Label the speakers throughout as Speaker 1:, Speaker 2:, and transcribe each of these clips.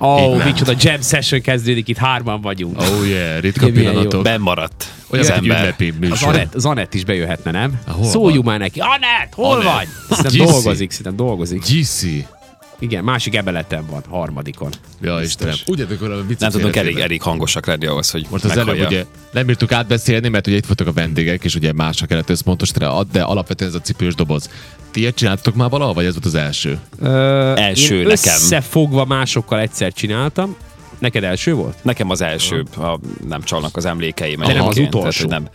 Speaker 1: Ó,
Speaker 2: Így
Speaker 1: oh,
Speaker 2: ment.
Speaker 1: micsoda jam session kezdődik, itt hárman vagyunk. Oh.
Speaker 2: Oh yeah, ritka
Speaker 1: Ugye milyen
Speaker 2: pillanatok.
Speaker 3: Ben maradt.
Speaker 2: Olyan,
Speaker 3: az
Speaker 2: mint egy
Speaker 3: ember.
Speaker 2: ünnepi
Speaker 1: Az
Speaker 2: műsor.
Speaker 1: Anett, az Anett is bejöhetne, nem?
Speaker 2: hol van?
Speaker 1: Szóljunk már neki. Anett, hol
Speaker 2: Anett.
Speaker 1: vagy? Szerintem
Speaker 2: Gyiszi.
Speaker 1: dolgozik, szerintem dolgozik.
Speaker 2: GC.
Speaker 1: Igen, másik ebeleten van, harmadikon.
Speaker 2: Ja, Istenem. Úgy amikor a viccet
Speaker 3: Nem tudunk elég,
Speaker 2: félretéve.
Speaker 3: elég hangosak lenni ahhoz, hogy
Speaker 2: Most az
Speaker 3: meghallja.
Speaker 2: előbb ugye nem bírtuk átbeszélni, mert ugye itt voltak a vendégek, és ugye másra kellett összpontosítani, de alapvetően ez a cipős doboz. Ti ilyet csináltatok már valaha, vagy ez volt az első?
Speaker 1: Ö,
Speaker 3: Első
Speaker 1: én
Speaker 3: nekem.
Speaker 1: összefogva másokkal egyszer csináltam. Neked első volt?
Speaker 3: Nekem az első, ha nem csalnak az emlékeim.
Speaker 1: nem az
Speaker 3: egyébként,
Speaker 1: utolsó.
Speaker 3: Tehát, hogy nem.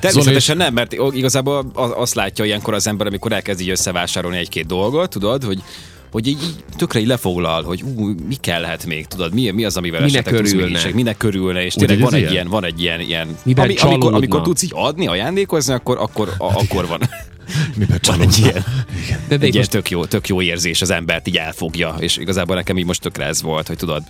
Speaker 3: Természetesen nem, mert igazából a- azt látja ilyenkor az ember, amikor elkezd így összevásárolni egy-két dolgot, tudod, hogy hogy így így tökre így lefoglal, hogy ú, mi kellhet még, tudod, mi, mi az, amivel
Speaker 1: Minek
Speaker 3: esetleg tudsz
Speaker 1: örülne.
Speaker 3: ügyiség, minek körülne, és
Speaker 2: Ugye
Speaker 3: tényleg
Speaker 2: ez
Speaker 3: van egy
Speaker 2: ilyen?
Speaker 3: ilyen? van egy ilyen, ilyen
Speaker 1: Miben
Speaker 3: amikor,
Speaker 1: csalódna?
Speaker 3: amikor tudsz így adni, ajándékozni, akkor, akkor, a, akkor van,
Speaker 2: Miben
Speaker 3: van egy ilyen,
Speaker 1: De, de itt
Speaker 3: egy ilyen
Speaker 1: most
Speaker 3: tök, jó, tök jó érzés az embert így elfogja, és igazából nekem így most tökre ez volt, hogy tudod,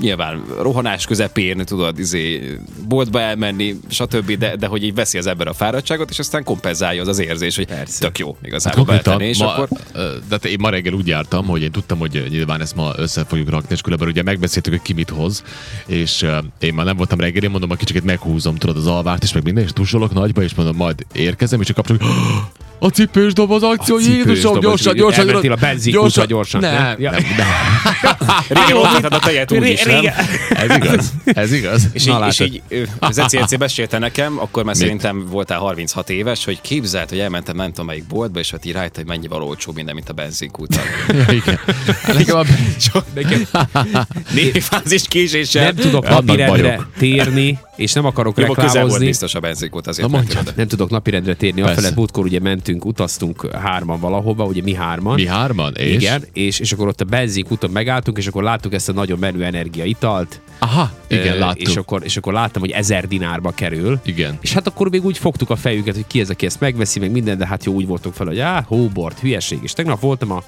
Speaker 3: nyilván rohanás közepén, tudod, izé, boltba elmenni, stb., de, de hogy így veszi az ember a fáradtságot, és aztán kompenzálja az az érzés, hogy Persze. tök jó
Speaker 1: Hát,
Speaker 3: igazából
Speaker 2: Konkrétan,
Speaker 3: beletenni, és
Speaker 2: ma,
Speaker 3: akkor...
Speaker 2: ö, de te- én ma reggel úgy jártam, hogy én tudtam, hogy nyilván ezt ma össze fogjuk rakni, és különben ugye megbeszéltük, hogy ki mit hoz, és ö, én már nem voltam reggel, én mondom, a kicsit meghúzom, tudod, az alvárt, és meg minden, és tusolok nagyba, és mondom, majd érkezem, és csak kapcsolok, a cipős doboz akció,
Speaker 1: A cipős
Speaker 2: Jézusom,
Speaker 1: doboz,
Speaker 2: gyorsan,
Speaker 1: ugye,
Speaker 2: gyorsan,
Speaker 1: elmentél a benzinkútra gyorsan,
Speaker 2: Nem,
Speaker 1: nem?
Speaker 2: nem,
Speaker 1: Ja.
Speaker 2: nem,
Speaker 3: Régen ott a tejet úgy is, nem?
Speaker 2: ez igaz, ez igaz.
Speaker 3: És így, és így ö, az ECLC mesélte nekem, akkor már szerintem voltál 36 éves, hogy képzelt, hogy elmentem nem tudom melyik boltba, és ott így rájött, hogy mennyivel olcsó minden, mint a benzinkúton.
Speaker 2: Ja, igen. Nekem a
Speaker 3: Csak nekem négy fázis késéssel.
Speaker 1: nem tudok
Speaker 2: Vannak
Speaker 1: napirendre
Speaker 2: bajok.
Speaker 1: térni, és nem akarok
Speaker 3: Jó, közel volt
Speaker 1: reklámozni.
Speaker 3: biztos a benzinkút, azért
Speaker 2: Na,
Speaker 3: mentél
Speaker 2: mondjad.
Speaker 3: oda.
Speaker 1: Nem tudok napirendre térni.
Speaker 2: Persze.
Speaker 1: Afelett múltkor ugye mentünk, utaztunk hárman valahova, ugye mi hárman.
Speaker 2: mi hárman, és?
Speaker 1: Igen, és, és akkor ott a benzinkúton megálltunk, és akkor láttuk ezt a nagyon menő energiaitalt.
Speaker 2: Aha, igen,
Speaker 1: Ö,
Speaker 2: láttuk.
Speaker 1: És akkor, és akkor láttam, hogy ezer dinárba kerül.
Speaker 2: Igen.
Speaker 1: És hát akkor még úgy fogtuk a fejüket, hogy ki ez, aki ezt megveszi, meg minden, de hát jó, úgy voltunk fel, hogy á, hóbort, hülyeség. És tegnap voltam a,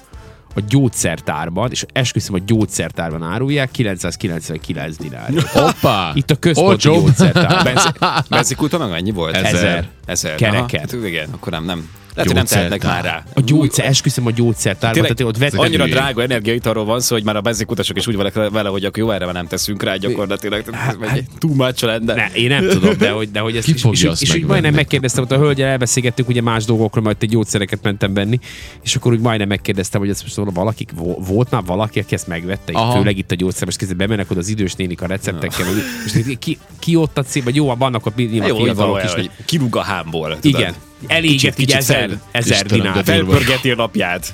Speaker 1: a gyógyszertárban, és esküszöm, a gyógyszertárban árulják 999 dinár.
Speaker 2: Hoppá!
Speaker 1: Itt a központi
Speaker 2: Olcsóbb.
Speaker 1: gyógyszertár.
Speaker 3: Benzi- Benzinkúton meg annyi volt?
Speaker 2: Ezer.
Speaker 3: Ezer.
Speaker 1: Kereken.
Speaker 3: Aha, hát igen, akkor nem, nem. Lehet, hogy nem tehetnek már rá. Hát
Speaker 1: A gyógyszer, esküszöm a gyógyszertárban,
Speaker 3: Tényleg,
Speaker 1: tehát ott vettem.
Speaker 2: Ezeket
Speaker 3: annyira
Speaker 2: hülyék.
Speaker 3: drága energiaitalról van szó, hogy már a benzinkutasok is úgy vannak vele, hogy akkor jó, erre már nem teszünk rá gyakorlatilag. Tehát Ez megy egy túl much lenne.
Speaker 1: Hát, Ne, én nem tudom, de hogy, de hogy ezt
Speaker 2: Ki
Speaker 1: is, és,
Speaker 2: fogja
Speaker 1: és,
Speaker 2: azt
Speaker 1: és úgy
Speaker 2: megvenni?
Speaker 1: majdnem megkérdeztem, ott a hölgyel elbeszélgettünk ugye más dolgokról, majd egy gyógyszereket mentem venni, és akkor úgy majdnem megkérdeztem, hogy ez most oda valaki, vo- volt már valaki, aki ezt megvette, Aha.
Speaker 2: Aha.
Speaker 1: főleg itt a gyógyszer, most kezdve bemennek oda az idős nénik a receptekkel, hogy most ki, ki ott a cím, vagy jó, vannak ott
Speaker 3: Na
Speaker 1: nyilván
Speaker 3: Jó, hogy való
Speaker 1: fiatalok is.
Speaker 3: el,
Speaker 1: Hogy...
Speaker 3: hogy kirúg a hámból. tudod.
Speaker 1: Igen, elégett így
Speaker 3: kicsit
Speaker 1: ezer,
Speaker 3: fel-
Speaker 1: ezer Hát
Speaker 2: Istenem, de
Speaker 1: dinár.
Speaker 2: durva.
Speaker 3: Felpörgeti a napját.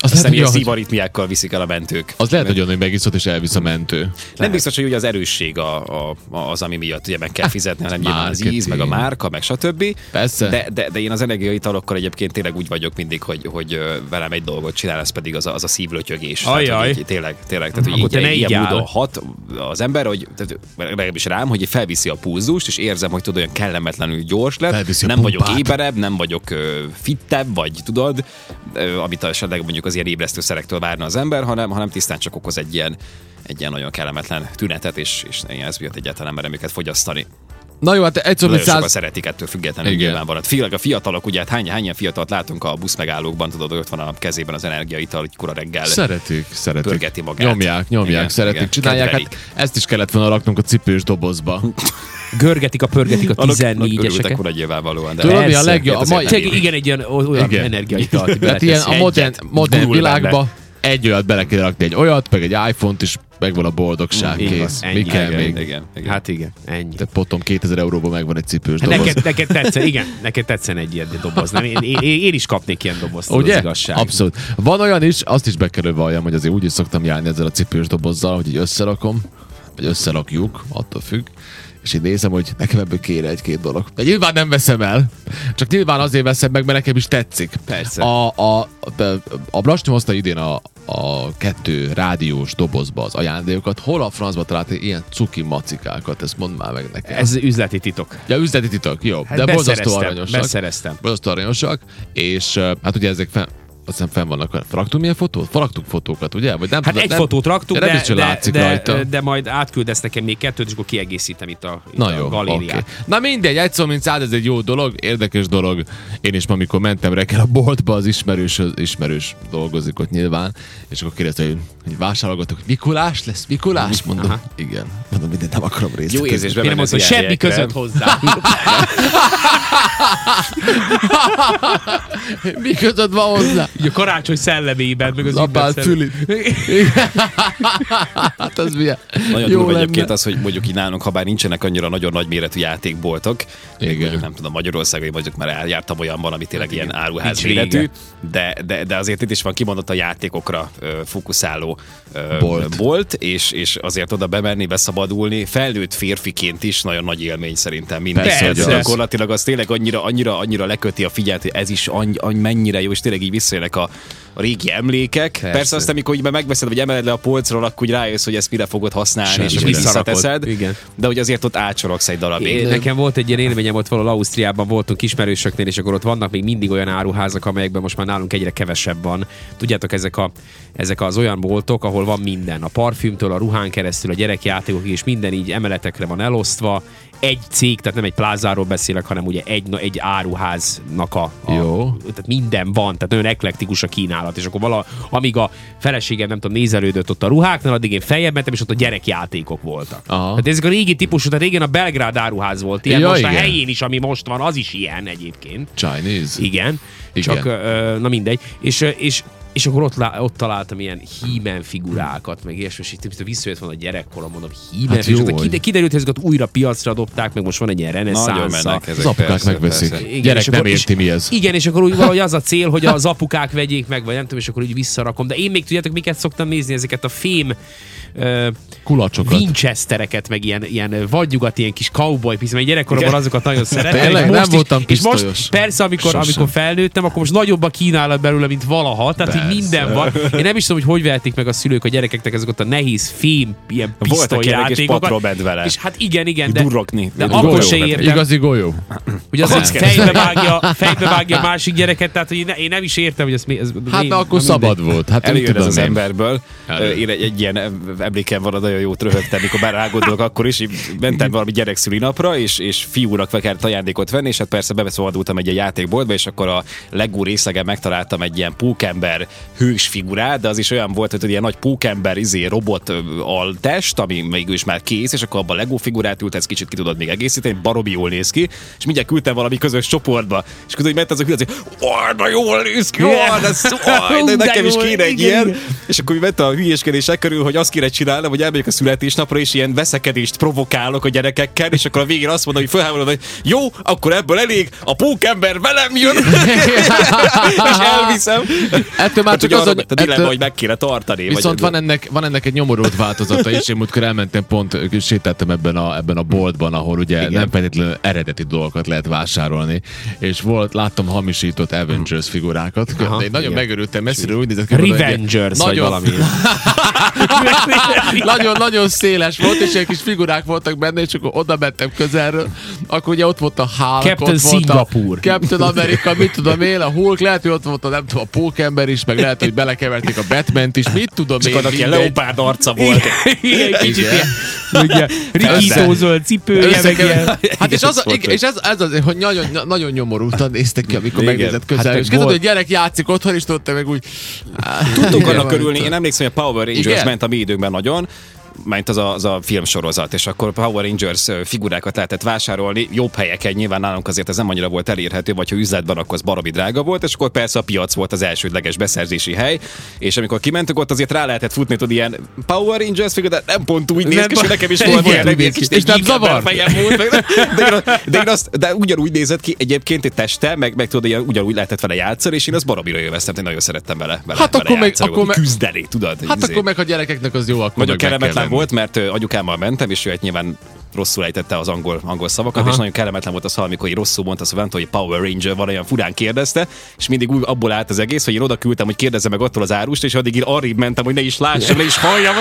Speaker 2: Azt
Speaker 3: Aztán
Speaker 2: lehet, hogy,
Speaker 3: ilyen
Speaker 2: ahogy-
Speaker 3: szívaritmiákkal viszik el a mentők.
Speaker 2: az lehet, hogy olyan, hogy megiszod és elvisz a mentő.
Speaker 3: Nem biztos, hogy ugye az erősség a, a, a, az, ami miatt ugye meg kell fizetni, hanem nyilván az íz, meg
Speaker 2: marketing.
Speaker 3: a márka, meg stb.
Speaker 2: Persze.
Speaker 3: De, de, de én az energiaitalokkal egyébként tényleg úgy vagyok mindig, hogy, hogy ö, velem egy dolgot csinál, ez pedig az a, az a szívlötyögés. Tehát,
Speaker 1: Ajaj.
Speaker 3: hogy így- Tényleg, tényleg. Tehát, hogy
Speaker 1: Akkor te
Speaker 3: így,
Speaker 1: ne
Speaker 3: ilyen
Speaker 1: így áll.
Speaker 3: módon hat az ember, hogy tehát legalábbis rám, hogy felviszi a pulzust, és érzem, hogy tudod, olyan kellemetlenül gyors lett.
Speaker 2: Felviszi a
Speaker 3: nem vagyok
Speaker 2: pumpát.
Speaker 3: éberebb, nem vagyok ö, fittebb, vagy tudod, ö, amit esetleg mondjuk az ilyen ébresztőszerektől várna az ember, hanem, hanem tisztán csak okoz egy ilyen egy ilyen nagyon kellemetlen tünetet, és, és én ez miatt egyáltalán nem merem őket fogyasztani.
Speaker 2: Na jó, hát egyszer,
Speaker 3: Nagyon
Speaker 2: mint
Speaker 3: sokan
Speaker 2: száz...
Speaker 3: szeretik ettől függetlenül
Speaker 2: Igen.
Speaker 3: nyilván van. Főleg a fiatalok, ugye hát hány, hány ilyen fiatalt látunk a buszmegállókban, tudod, ott van a kezében az energiaital, hogy kora reggel.
Speaker 2: Szeretik, szeretik.
Speaker 3: Pörgeti magát.
Speaker 2: Nyomják, nyomják,
Speaker 3: Igen,
Speaker 2: igen, szeretik,
Speaker 3: igen.
Speaker 2: igen. csinálják. Hát
Speaker 3: Kedvelik.
Speaker 2: ezt is kellett volna raknunk a cipős dobozba.
Speaker 1: Görgetik a pörgetik a
Speaker 3: Annak- annak örültek
Speaker 1: 14-eseket.
Speaker 3: volna nyilvánvalóan, de
Speaker 2: Tudod, mi a
Speaker 1: Persze,
Speaker 2: legjobb? A
Speaker 3: hát azért
Speaker 2: mai,
Speaker 3: nem
Speaker 1: Csak igen, egy ilyen o- olyan
Speaker 2: Igen.
Speaker 1: energiaitalt
Speaker 2: Tehát ilyen a
Speaker 1: beleteszi.
Speaker 2: modern, modern
Speaker 1: gurul
Speaker 2: világba egy olyat bele kell rakni, egy olyat, meg egy iPhone-t is, megvan a boldogság,
Speaker 1: Így van,
Speaker 2: kész. Mi
Speaker 1: ennyi,
Speaker 2: kell
Speaker 3: igen,
Speaker 2: még?
Speaker 3: igen, igen.
Speaker 1: Hát igen, ennyi.
Speaker 2: Te potom 2000 euróban megvan egy cipős
Speaker 1: Hát
Speaker 2: doboz.
Speaker 1: Neked, neked tetszen, igen, neked tetszen egy ilyen doboz. Nem, én, én, én is kapnék ilyen dobozt, Ugye? az
Speaker 2: Ugye?
Speaker 1: igazság.
Speaker 2: Abszolút. Van olyan is, azt is be kell hogy valljam, hogy azért úgy is szoktam járni ezzel a cipős dobozzal, hogy így összerakom, vagy összerakjuk, attól függ, és így nézem, hogy nekem ebből kéne egy-két dolog. De nyilván nem veszem el, csak nyilván azért veszem meg, mert nekem is tetszik.
Speaker 1: Persze.
Speaker 2: A, a, a, a Blastum hozta idén a, a kettő rádiós dobozba az ajándékokat. Hol a francba találtak ilyen cuki macikákat? Ezt mondd már meg nekem.
Speaker 1: Ez üzleti titok.
Speaker 2: Ja, üzleti titok, jó.
Speaker 1: Hát
Speaker 2: de borzasztó
Speaker 1: beszereztem,
Speaker 2: aranyosak.
Speaker 1: beszereztem.
Speaker 2: Borzasztó aranyosak, és ö, hát ugye ezek fel, hiszem fenn vannak. Raktunk milyen fotót? Raktunk fotókat, ugye? Vagy nem,
Speaker 1: Hát
Speaker 2: tudom,
Speaker 1: egy
Speaker 2: nem,
Speaker 1: fotót raktuk, de,
Speaker 2: de, nem is
Speaker 1: de,
Speaker 2: de, látszik
Speaker 1: de,
Speaker 2: rajta.
Speaker 1: de, majd átküldesz nekem még kettőt, és akkor kiegészítem itt a, itt
Speaker 2: Na
Speaker 1: a
Speaker 2: jó,
Speaker 1: galériát.
Speaker 2: Okay. Na mindegy, egy szó, mint száz, ez egy jó dolog, érdekes dolog. Én is, ma, amikor mentem reggel a boltba, az ismerős, az ismerős dolgozik ott nyilván, és akkor kérdezte, hogy, hogy vásárolgatok, Mikulás lesz, Mikulás? Mondom, Aha. igen. Mondom, mindent nem akarom részt.
Speaker 3: Jó érzésben
Speaker 1: Én nem azt mondom, semmi között hozzá.
Speaker 2: Mi között van hozzá?
Speaker 1: Így a karácsony szellemében, meg az
Speaker 2: Lapát,
Speaker 1: ünnep szellem-
Speaker 2: Füli. hát az milyen.
Speaker 3: Nagyon
Speaker 2: jó
Speaker 3: durva
Speaker 2: lenne.
Speaker 3: egyébként az, hogy mondjuk így nálunk, ha bár nincsenek annyira nagyon nagy méretű játékboltok,
Speaker 2: Igen.
Speaker 3: mondjuk nem tudom, Magyarországon, én mondjuk már eljártam olyanban, ami tényleg ilyen áruház
Speaker 1: Nincs vége.
Speaker 3: méretű, de, de, de azért itt is van kimondott a játékokra ö, fókuszáló ö,
Speaker 2: Bolt.
Speaker 3: bolt és, és azért oda bemenni, beszabadulni, felnőtt férfiként is nagyon nagy élmény szerintem minden.
Speaker 2: Persze,
Speaker 3: Tehát
Speaker 2: hogy az.
Speaker 3: Gyakorlatilag az tényleg annyira, annyira, annyira leköti a figyelmet, hogy ez is any, any, mennyire jó, és tényleg így visszajönnek a a régi emlékek. Persze, Persze aztán, amikor így már megveszed, vagy emeled le a polcról, akkor úgy rájössz, hogy ezt mire fogod használni
Speaker 1: Semmi
Speaker 3: és akkor
Speaker 1: mire.
Speaker 3: visszateszed,
Speaker 1: Igen.
Speaker 3: de hogy azért ott ácsorogsz egy darabig.
Speaker 1: Én, nekem volt egy ilyen élményem, ott valahol Ausztriában voltunk ismerősöknél, és akkor ott vannak még mindig olyan áruházak, amelyekben most már nálunk egyre kevesebb van. Tudjátok, ezek, a, ezek az olyan boltok, ahol van minden. A parfümtől, a ruhán keresztül, a gyerekjátékokig, és minden így emeletekre van elosztva. Egy cég, tehát nem egy plázáról beszélek, hanem ugye egy, na- egy áruháznak a, a
Speaker 2: Jó.
Speaker 1: tehát minden van, tehát nagyon eklektikus a kínálat, és akkor vala, amíg a feleségem, nem tudom, nézelődött ott a ruháknál, addig én feljebb mentem, és ott a gyerekjátékok voltak.
Speaker 2: Aha.
Speaker 1: Tehát
Speaker 3: Hát
Speaker 1: ezek Hát a régi típusú, tehát régen a Belgrád áruház volt ilyen,
Speaker 2: Ja,
Speaker 1: most a
Speaker 2: igen.
Speaker 1: helyén is, ami most van, az is ilyen egyébként.
Speaker 2: Chinese.
Speaker 1: Igen.
Speaker 2: Igen.
Speaker 1: Igen. Csak, ö, na mindegy. És, ö, és és akkor ott, lá- ott találtam ilyen hímen figurákat, meg ilyesmi, és itt visszajött van a gyerekkorom, mondom, hímen
Speaker 2: Hát
Speaker 1: hát és
Speaker 2: jó,
Speaker 1: aztán
Speaker 2: hogy-
Speaker 1: kide- kiderült, hogy ezeket újra piacra dobták, meg most van egy ilyen
Speaker 3: Nagyon
Speaker 1: reneszánsza.
Speaker 3: mennek ezek.
Speaker 2: Az apukák
Speaker 3: persze,
Speaker 2: megveszik.
Speaker 3: persze.
Speaker 1: Igen,
Speaker 2: Gyerek
Speaker 1: és
Speaker 2: nem
Speaker 1: akkor-
Speaker 2: érti
Speaker 1: és,
Speaker 2: mi ez.
Speaker 1: Igen, és akkor úgy valahogy az a cél, hogy az apukák vegyék meg, vagy nem tudom, és akkor úgy visszarakom. De én még tudjátok, miket szoktam nézni, ezeket a fém ö,
Speaker 2: Kulacsokat.
Speaker 1: Winchestereket, meg ilyen, ilyen vadnyugat, ilyen kis cowboy pisz, mert gyerekkoromban
Speaker 3: Igen.
Speaker 1: azokat nagyon szerettem.
Speaker 2: Tényleg?
Speaker 1: és
Speaker 2: Nem
Speaker 1: most is-
Speaker 2: voltam
Speaker 1: És
Speaker 2: pisztolyos.
Speaker 1: most persze, amikor,
Speaker 2: Sosem.
Speaker 1: amikor felnőttem, akkor most nagyobb a kínálat belőle, mint valaha, tehát így minden van. Én nem is tudom, hogy hogy vehetik meg a szülők a gyerekeknek ezeket a nehéz fém, ilyen
Speaker 3: Voltak ilyenek, és
Speaker 1: pisztolyjátékokat.
Speaker 3: patróbed vele.
Speaker 1: És hát igen, igen, de,
Speaker 3: Durrokni.
Speaker 1: de
Speaker 3: Durrokni.
Speaker 1: akkor se
Speaker 3: Golyó
Speaker 1: értem.
Speaker 2: Igazi golyó.
Speaker 1: Ugye az, hogy
Speaker 3: kockás.
Speaker 1: fejbe vágja, fejbe vágja a másik gyereket, tehát hogy én, én nem is értem, hogy ez mi. Ez,
Speaker 2: Hát
Speaker 1: én,
Speaker 2: na, akkor
Speaker 1: na mindegy.
Speaker 2: szabad volt. Hát mit
Speaker 3: Előjön ez
Speaker 2: tudom
Speaker 3: az
Speaker 2: én.
Speaker 3: emberből.
Speaker 2: Elő.
Speaker 3: Én egy, egy ilyen emlékem van, nagyon jót röhögtem, mikor már rágondolok, akkor is így mentem valami gyerekszüli napra, és, és fiúnak kellett ajándékot venni, és hát persze bebeszabadultam egy ilyen játékboltba, és akkor a legú részlegen megtaláltam egy ilyen pókember hős figurát, de az is olyan volt, hogy tudod, ilyen nagy pókember izé, robot ö, altest, ami még is már kész, és akkor abban a legó figurát ültetsz, kicsit ki tudod még egészíteni, baromi jól néz ki, és mindjárt küldtem valami közös csoportba, és akkor úgy ment az a küldöző, "Ó, de jól néz ki, ó, de hát szó,
Speaker 1: Ú,
Speaker 3: de
Speaker 1: de
Speaker 3: nekem is
Speaker 1: jó,
Speaker 3: kéne egy
Speaker 1: igen,
Speaker 3: ilyen,
Speaker 1: igen.
Speaker 3: és akkor mi ment a hülyéskedések körül, hogy azt kéne csinálnom, hogy elmegyek a születésnapra, és ilyen veszekedést provokálok a gyerekekkel, és akkor a végén azt mondom, hogy fölháborodom, hogy jó, akkor ebből elég, a pókember velem jön, és elviszem.
Speaker 2: Ettől már
Speaker 3: Hát
Speaker 2: csak
Speaker 3: ugye
Speaker 2: az,
Speaker 3: arra
Speaker 2: hogy...
Speaker 3: ment a dilemma,
Speaker 2: ettől-
Speaker 3: hogy meg kéne tartani.
Speaker 2: Viszont van ennek, van ennek egy nyomorult változata is. Én múltkor elmentem, pont sétáltam ebben a, ebben a boltban, ahol ugye Igen. nem feltétlenül eredeti dolgokat lehet vásárolni. És volt, láttam hamisított Avengers figurákat. Aha,
Speaker 1: Aha,
Speaker 2: Én nagyon
Speaker 1: igen.
Speaker 2: megörültem messziről, úgy nézett ki. hogy egy-
Speaker 1: Revengers vagy
Speaker 2: nagyon,
Speaker 1: valami.
Speaker 2: Nagyon-nagyon széles volt, és ilyen kis figurák voltak benne, és akkor oda mentem közelről. Akkor ugye ott volt a Hulk,
Speaker 1: Captain
Speaker 2: ott volt
Speaker 1: Singapore.
Speaker 2: a Captain America, mit tudom én, a Hulk, lehet, hogy ott volt a, nem tudom, a Pókember is, meg lehet, hogy belekeverték a Batman-t is, mit tudom
Speaker 3: Csak
Speaker 2: én.
Speaker 3: annak ilyen
Speaker 2: mindegy.
Speaker 3: leopárd arca volt.
Speaker 1: Igen, kicsit
Speaker 2: Igen.
Speaker 1: ilyen, ugye, rikító zöld cipője, meg ilyen.
Speaker 2: Összekever- Hát és, az, a, igen, és ez, ez az, hogy nagyon, na- nagyon nyomorultan néztek ki, amikor
Speaker 3: Igen.
Speaker 2: megnézett
Speaker 1: Hát
Speaker 2: közel.
Speaker 1: meg
Speaker 2: és kezdett,
Speaker 1: volt-
Speaker 2: hogy gyerek játszik otthon, és tudta meg úgy...
Speaker 3: Tudtunk
Speaker 2: Igen,
Speaker 3: annak
Speaker 2: van
Speaker 3: körülni,
Speaker 2: itt.
Speaker 3: én emlékszem, hogy a Power Rangers
Speaker 2: Igen.
Speaker 3: Igen. ment a mi időnkben nagyon, ment az a, az a filmsorozat, és akkor Power Rangers ö, figurákat lehetett vásárolni jobb helyeken, nyilván nálunk azért ez nem annyira volt elérhető, vagy ha üzletben, akkor az baromi drága volt, és akkor persze a piac volt az elsődleges beszerzési hely, és amikor kimentünk ott, azért rá lehetett futni, tudod, ilyen Power Rangers figura, de nem pont úgy néz
Speaker 1: Nem
Speaker 3: ki, és
Speaker 1: pont-
Speaker 3: nekem is
Speaker 1: Igen,
Speaker 3: volt ilyen,
Speaker 2: úgy
Speaker 3: egy
Speaker 2: néz ki.
Speaker 3: kis
Speaker 2: És nem zavar?
Speaker 3: fejem volt, meg- de, én, de, én azt, de ugyanúgy nézett ki egyébként egy teste, meg, meg tudod, ilyen, ugyanúgy lehetett vele játszani, és én azt baromira élveztem, én nagyon szerettem vele. vele
Speaker 2: Hát
Speaker 3: vele
Speaker 2: akkor meg-
Speaker 3: játszani,
Speaker 2: akkor
Speaker 3: úgy
Speaker 2: meg-
Speaker 3: küzdeni, tudod.
Speaker 2: Hát
Speaker 3: izé.
Speaker 2: akkor meg a gyerekeknek az jó, akkor
Speaker 3: Nagyon
Speaker 2: meg meg kell
Speaker 3: kellemetlen
Speaker 2: venni.
Speaker 3: volt, mert ö, anyukámmal mentem, és ő egy nyilván rosszul ejtette az angol, angol szavakat, Aha. és nagyon kellemetlen volt az, ha amikor így rosszul mondta, azt mondta, hogy Power Ranger van, olyan furán kérdezte, és mindig úgy abból állt az egész, hogy én oda küldtem, hogy kérdezze meg attól az árust, és addig így arrébb mentem, hogy ne is lássam, ne is halljam.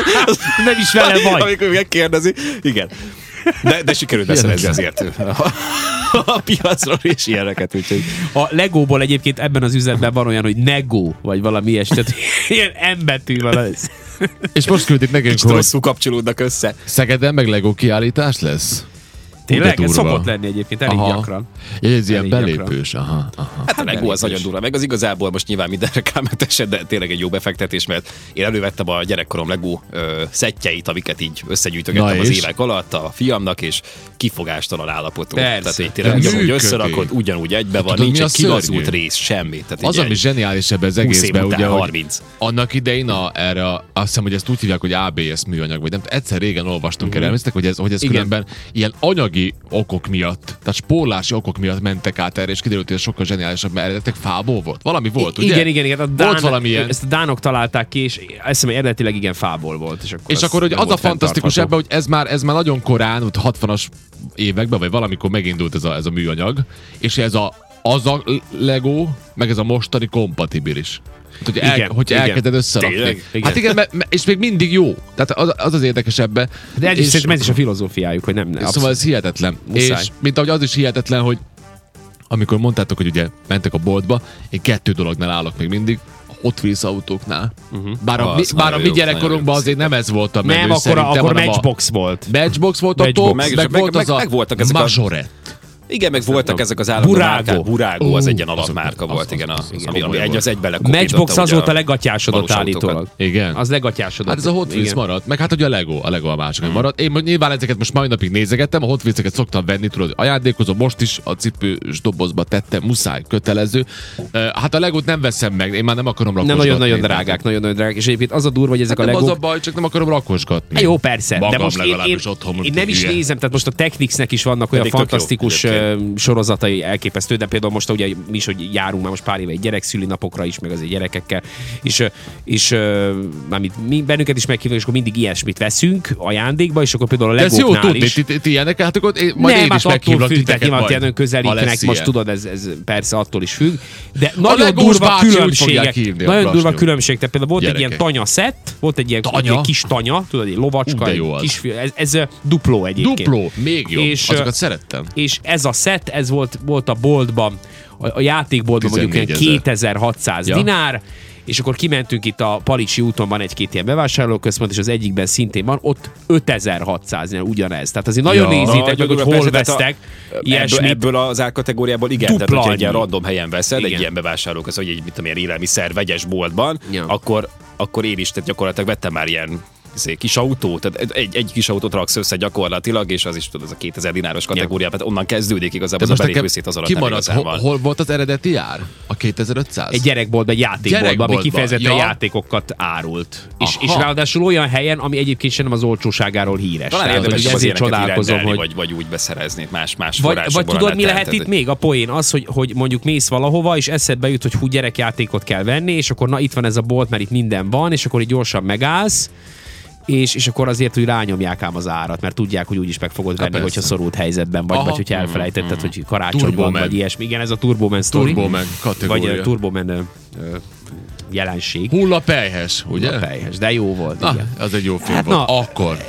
Speaker 1: Nem is vele vagy.
Speaker 3: Amikor megkérdezi. Igen. De, de sikerült beszerezni azért a, a piacról és ilyeneket, úgyhogy
Speaker 1: A Legóból egyébként ebben az üzletben van olyan, hogy Negó, vagy valami ilyesmi. Tehát ilyen embetű van ez.
Speaker 2: És most küldik nekünk,
Speaker 3: kicsit
Speaker 2: hogy
Speaker 3: rosszul kapcsolódnak össze.
Speaker 2: Szegeden meg Lego kiállítás lesz?
Speaker 1: Tényleg?
Speaker 2: Ú, de
Speaker 1: Ez
Speaker 2: durva.
Speaker 1: szokott lenni egyébként elég
Speaker 2: Aha.
Speaker 1: gyakran.
Speaker 2: Ja, Ez ilyen
Speaker 1: Elég gyakran.
Speaker 2: belépős, aha, aha.
Speaker 3: Hát a Lego az
Speaker 1: belépés.
Speaker 3: nagyon durva, meg az igazából most nyilván minden reklámmentese, de tényleg egy jó befektetés, mert én elővettem a gyerekkorom Lego ö, szettjeit, amiket így összegyűjtögettem
Speaker 2: Na
Speaker 3: az
Speaker 2: és?
Speaker 3: évek alatt a fiamnak, és kifogástalan állapotú.
Speaker 1: Persze.
Speaker 3: Tehát így tényleg
Speaker 2: Persze.
Speaker 3: ugyanúgy
Speaker 2: Működik. Hát
Speaker 3: összerakod, ugyanúgy egybe van,
Speaker 2: tudod,
Speaker 3: nincs
Speaker 2: mi
Speaker 3: egy
Speaker 2: a szörnyű?
Speaker 3: kilazult rész, semmi. Tehát
Speaker 1: Hát
Speaker 2: Az,
Speaker 3: így
Speaker 2: ami
Speaker 3: egy-
Speaker 2: zseniális ebben az
Speaker 3: 20 év
Speaker 2: egészben,
Speaker 3: után
Speaker 2: ugye, hogy
Speaker 3: 30.
Speaker 2: annak idején a, erre, a- azt hiszem, hogy ezt úgy hívják, hogy ABS műanyag, vagy nem, egyszer régen olvastunk erre, emléksztek, hogy ez, hogy ez
Speaker 1: Mhm. Igen.
Speaker 2: különben ilyen anyagi okok miatt, tehát spórlási okok miatt mentek át erre, és kiderült, hogy ez sokkal zseniálisabb, mert eredetek fából volt. Valami volt, ugye?
Speaker 1: igen, igen, igen. A Dán,
Speaker 2: Volt valami ilyen.
Speaker 1: Ezt a Dánok találták ki, és azt hiszem, hogy eredetileg igen fából volt. És akkor,
Speaker 2: És
Speaker 1: az
Speaker 2: akkor hogy
Speaker 1: nem
Speaker 2: az a
Speaker 1: volt
Speaker 2: fenntartható. fantasztikus
Speaker 1: fenntartható.
Speaker 2: ebben, hogy ez már, ez már nagyon korán, ott 60-as években, vagy valamikor megindult ez a, ez a műanyag, és ez a, az a Lego, meg ez a mostani kompatibilis. Hát, Hogy, el,
Speaker 1: Igen,
Speaker 2: igen, hogy
Speaker 1: igen.
Speaker 2: elkezded összerakni.
Speaker 3: Tényleg?
Speaker 2: Hát igen, me, me, és még mindig jó. Tehát az az, az érdekes ebbe.
Speaker 1: De egy,
Speaker 2: és,
Speaker 1: szerintem ez is a filozófiájuk, hogy nem. nem
Speaker 2: Szóval ez hihetetlen.
Speaker 1: Muszáj.
Speaker 2: És mint ahogy az is hihetetlen, hogy amikor mondtátok, hogy ugye mentek a boltba, én kettő dolognál állok még mindig, a Hot Wheels autóknál. Uh-huh. Bár a,
Speaker 3: Mhm. Az
Speaker 2: mi, bár a
Speaker 3: nagyon
Speaker 2: mi
Speaker 3: jó, nagyon
Speaker 2: gyerekkorunkban
Speaker 3: jó.
Speaker 2: azért nem ez volt a menő
Speaker 1: nem, akkor,
Speaker 2: szerintem,
Speaker 1: akkor
Speaker 2: hanem a-
Speaker 1: matchbox volt.
Speaker 2: Matchbox volt a
Speaker 1: Matchbox.
Speaker 2: top,
Speaker 3: Meg-
Speaker 2: meg,
Speaker 3: meg-
Speaker 2: volt
Speaker 3: meg-
Speaker 2: az a
Speaker 3: meg voltak ezek a-
Speaker 2: Majore.
Speaker 3: Igen, meg voltak ezek az állandó
Speaker 1: Burágó.
Speaker 3: márkák. Burágó az
Speaker 2: Ú,
Speaker 3: egy ilyen
Speaker 2: azok-
Speaker 3: alapmárka
Speaker 2: az-
Speaker 3: volt,
Speaker 2: az-
Speaker 3: igen, a-
Speaker 2: az- az-
Speaker 3: ami ami
Speaker 2: komoly
Speaker 3: egy
Speaker 2: volt.
Speaker 3: az egyben
Speaker 1: Matchbox az volt a legatyásodott
Speaker 3: valós autókat.
Speaker 1: állítólag.
Speaker 2: Igen.
Speaker 1: Az legatyásodott.
Speaker 2: Hát ez a Hot Wheels
Speaker 1: Igen.
Speaker 2: maradt, meg hát ugye a Lego, a Lego a másik,
Speaker 3: Mhm.
Speaker 2: ami maradt. Én mondjuk nyilván ezeket most mai napig nézegettem, a Hot Wheels-eket szoktam venni, tudod, ajándékozom, most is a cipős dobozba tettem, muszáj, kötelező. Ö, Hát a Legót nem veszem meg, én már nem akarom rakosgatni.
Speaker 1: Nem nagyon-nagyon
Speaker 2: Tehát-
Speaker 1: drágák, nagyon-nagyon drágák. És egyébként az a durva, hogy ezek
Speaker 2: Hát
Speaker 1: a
Speaker 2: nem
Speaker 1: legók...
Speaker 2: az a baj, csak nem akarom rakosgatni.
Speaker 1: Hát Jó, persze. de
Speaker 2: Magam
Speaker 1: most én, én,
Speaker 2: legalábbis otthon,
Speaker 1: én
Speaker 2: mint
Speaker 1: nem
Speaker 2: egy
Speaker 1: is
Speaker 2: hülye.
Speaker 1: nézem, tehát most a Technicsnek is vannak olyan
Speaker 3: Pedig tök jó
Speaker 1: fantasztikus ö, sorozatai elképesztő, de például most ugye mi is, hogy járunk már most pár éve egy gyerekszüli napokra is, meg azért gyerekekkel, és, ö, és ö, mármint mi, bennünket is meghívnak, és akkor mindig ilyesmit veszünk ajándékba, és akkor például a
Speaker 2: De ez jó
Speaker 1: legóknál
Speaker 2: tudni,
Speaker 1: is.
Speaker 2: ti, ti, ti ilyenek, hát akkor én, majd én
Speaker 1: hát
Speaker 2: is meghívlak
Speaker 1: függ,
Speaker 2: titeket
Speaker 1: tehát nyilván
Speaker 2: majd,
Speaker 1: ilyen
Speaker 2: ha lesz
Speaker 1: közelítenek, most
Speaker 2: ilyen.
Speaker 1: tudod, ez, ez persze attól is függ. De nagyon
Speaker 2: Legós
Speaker 1: durva
Speaker 2: bácsi úgy fogják
Speaker 1: különbségek.
Speaker 2: hívni a
Speaker 1: Nagyon durva
Speaker 2: Brasnyó.
Speaker 1: különbség. Tehát például volt egy ilyen
Speaker 2: Gyerekek.
Speaker 1: tanya szett, volt egy ilyen,
Speaker 2: Tanya?
Speaker 1: egy kis tanya, tudod, egy
Speaker 2: Ú,
Speaker 1: lovacska,
Speaker 2: de
Speaker 1: egy
Speaker 2: jó az.
Speaker 1: kis, ez, ez ö, dupló egyébként.
Speaker 2: Dupló, még jobb.
Speaker 1: És,
Speaker 2: És,
Speaker 1: ö,
Speaker 2: Azokat szerettem.
Speaker 1: És ez a szett, ez volt, volt a boltban, a, a játékboltban mondjuk ilyen
Speaker 2: 14 000.
Speaker 1: 2600
Speaker 2: Ja.
Speaker 1: dinár, és akkor kimentünk itt a Palicsi úton, van egy-két ilyen bevásárlóközpont, és az egyikben szintén van, ott 5600 nál ugyanez. Tehát azért nagyon
Speaker 2: Ja.
Speaker 1: nézitek meg, hogy
Speaker 3: durva,
Speaker 1: hol
Speaker 3: persze, tehát
Speaker 1: vesztek
Speaker 3: Ebből,
Speaker 1: ilyesmit.
Speaker 3: ebből az árkategóriából igen,
Speaker 1: Dupla
Speaker 3: tehát hogyha egy
Speaker 1: annyi.
Speaker 3: ilyen random helyen veszed,
Speaker 1: Igen.
Speaker 3: egy ilyen bevásárlók, az, hogy egy mit tudom, ilyen élelmiszer vegyes boltban,
Speaker 1: Ja.
Speaker 3: akkor, akkor én is tehát gyakorlatilag vettem már ilyen izé, kis autót, tehát egy, egy kis autót raksz össze gyakorlatilag, és az is tudod, az a 2000 dináros kategória, tehát onnan kezdődik igazából az a
Speaker 2: nekem
Speaker 3: belépőszét az alatt nem
Speaker 2: kimaradt,
Speaker 3: igazán
Speaker 2: hol,
Speaker 3: van.
Speaker 2: hol volt az eredeti ár? A 2500?
Speaker 1: Egy gyerekboltban, egy játékboltban, ami
Speaker 2: Gyerekboltban,
Speaker 1: kifejezetten
Speaker 2: ja.
Speaker 1: játékokat árult. És,
Speaker 2: Aha.
Speaker 1: és ráadásul olyan helyen, ami egyébként sem az olcsóságáról híres.
Speaker 3: Talán
Speaker 1: Tehát,
Speaker 3: érdemes
Speaker 1: hogy
Speaker 3: az
Speaker 1: ezért
Speaker 3: ilyeneket
Speaker 1: csodálkozom,
Speaker 3: irányelni,
Speaker 1: hogy
Speaker 3: vagy, vagy úgy beszerezni más, más
Speaker 1: Vagy,
Speaker 3: forrásokból,
Speaker 1: vagy tudod, mi
Speaker 3: annál
Speaker 1: lehet
Speaker 3: tehát,
Speaker 1: itt még? A poén az, hogy, hogy mondjuk mész valahova, és eszedbe jut, hogy hú, gyerekjátékot kell venni, és akkor na itt van ez a bolt, mert itt minden van, és akkor így gyorsan megállsz, és, és akkor azért, hogy rányomják ám az árat, mert tudják, hogy úgyis meg fogod venni,
Speaker 2: Hát persze.
Speaker 1: hogyha szorult helyzetben vagy,
Speaker 2: Aha. Mhm.
Speaker 1: vagy hogyha elfelejtetted, hogy karácsony van,
Speaker 2: Turboman.
Speaker 1: vagy ilyesmi. Igen, ez a Turboman sztori.
Speaker 2: Turboman
Speaker 1: Vagy
Speaker 2: kategória.
Speaker 1: a Turboman ö, ö, jelenség.
Speaker 2: Hullapelyhes, ugye?
Speaker 1: Fejhes, de jó volt.
Speaker 2: Na,
Speaker 1: igen.
Speaker 2: az egy jó film
Speaker 1: Hát
Speaker 2: volt.
Speaker 1: na.
Speaker 2: Akkor.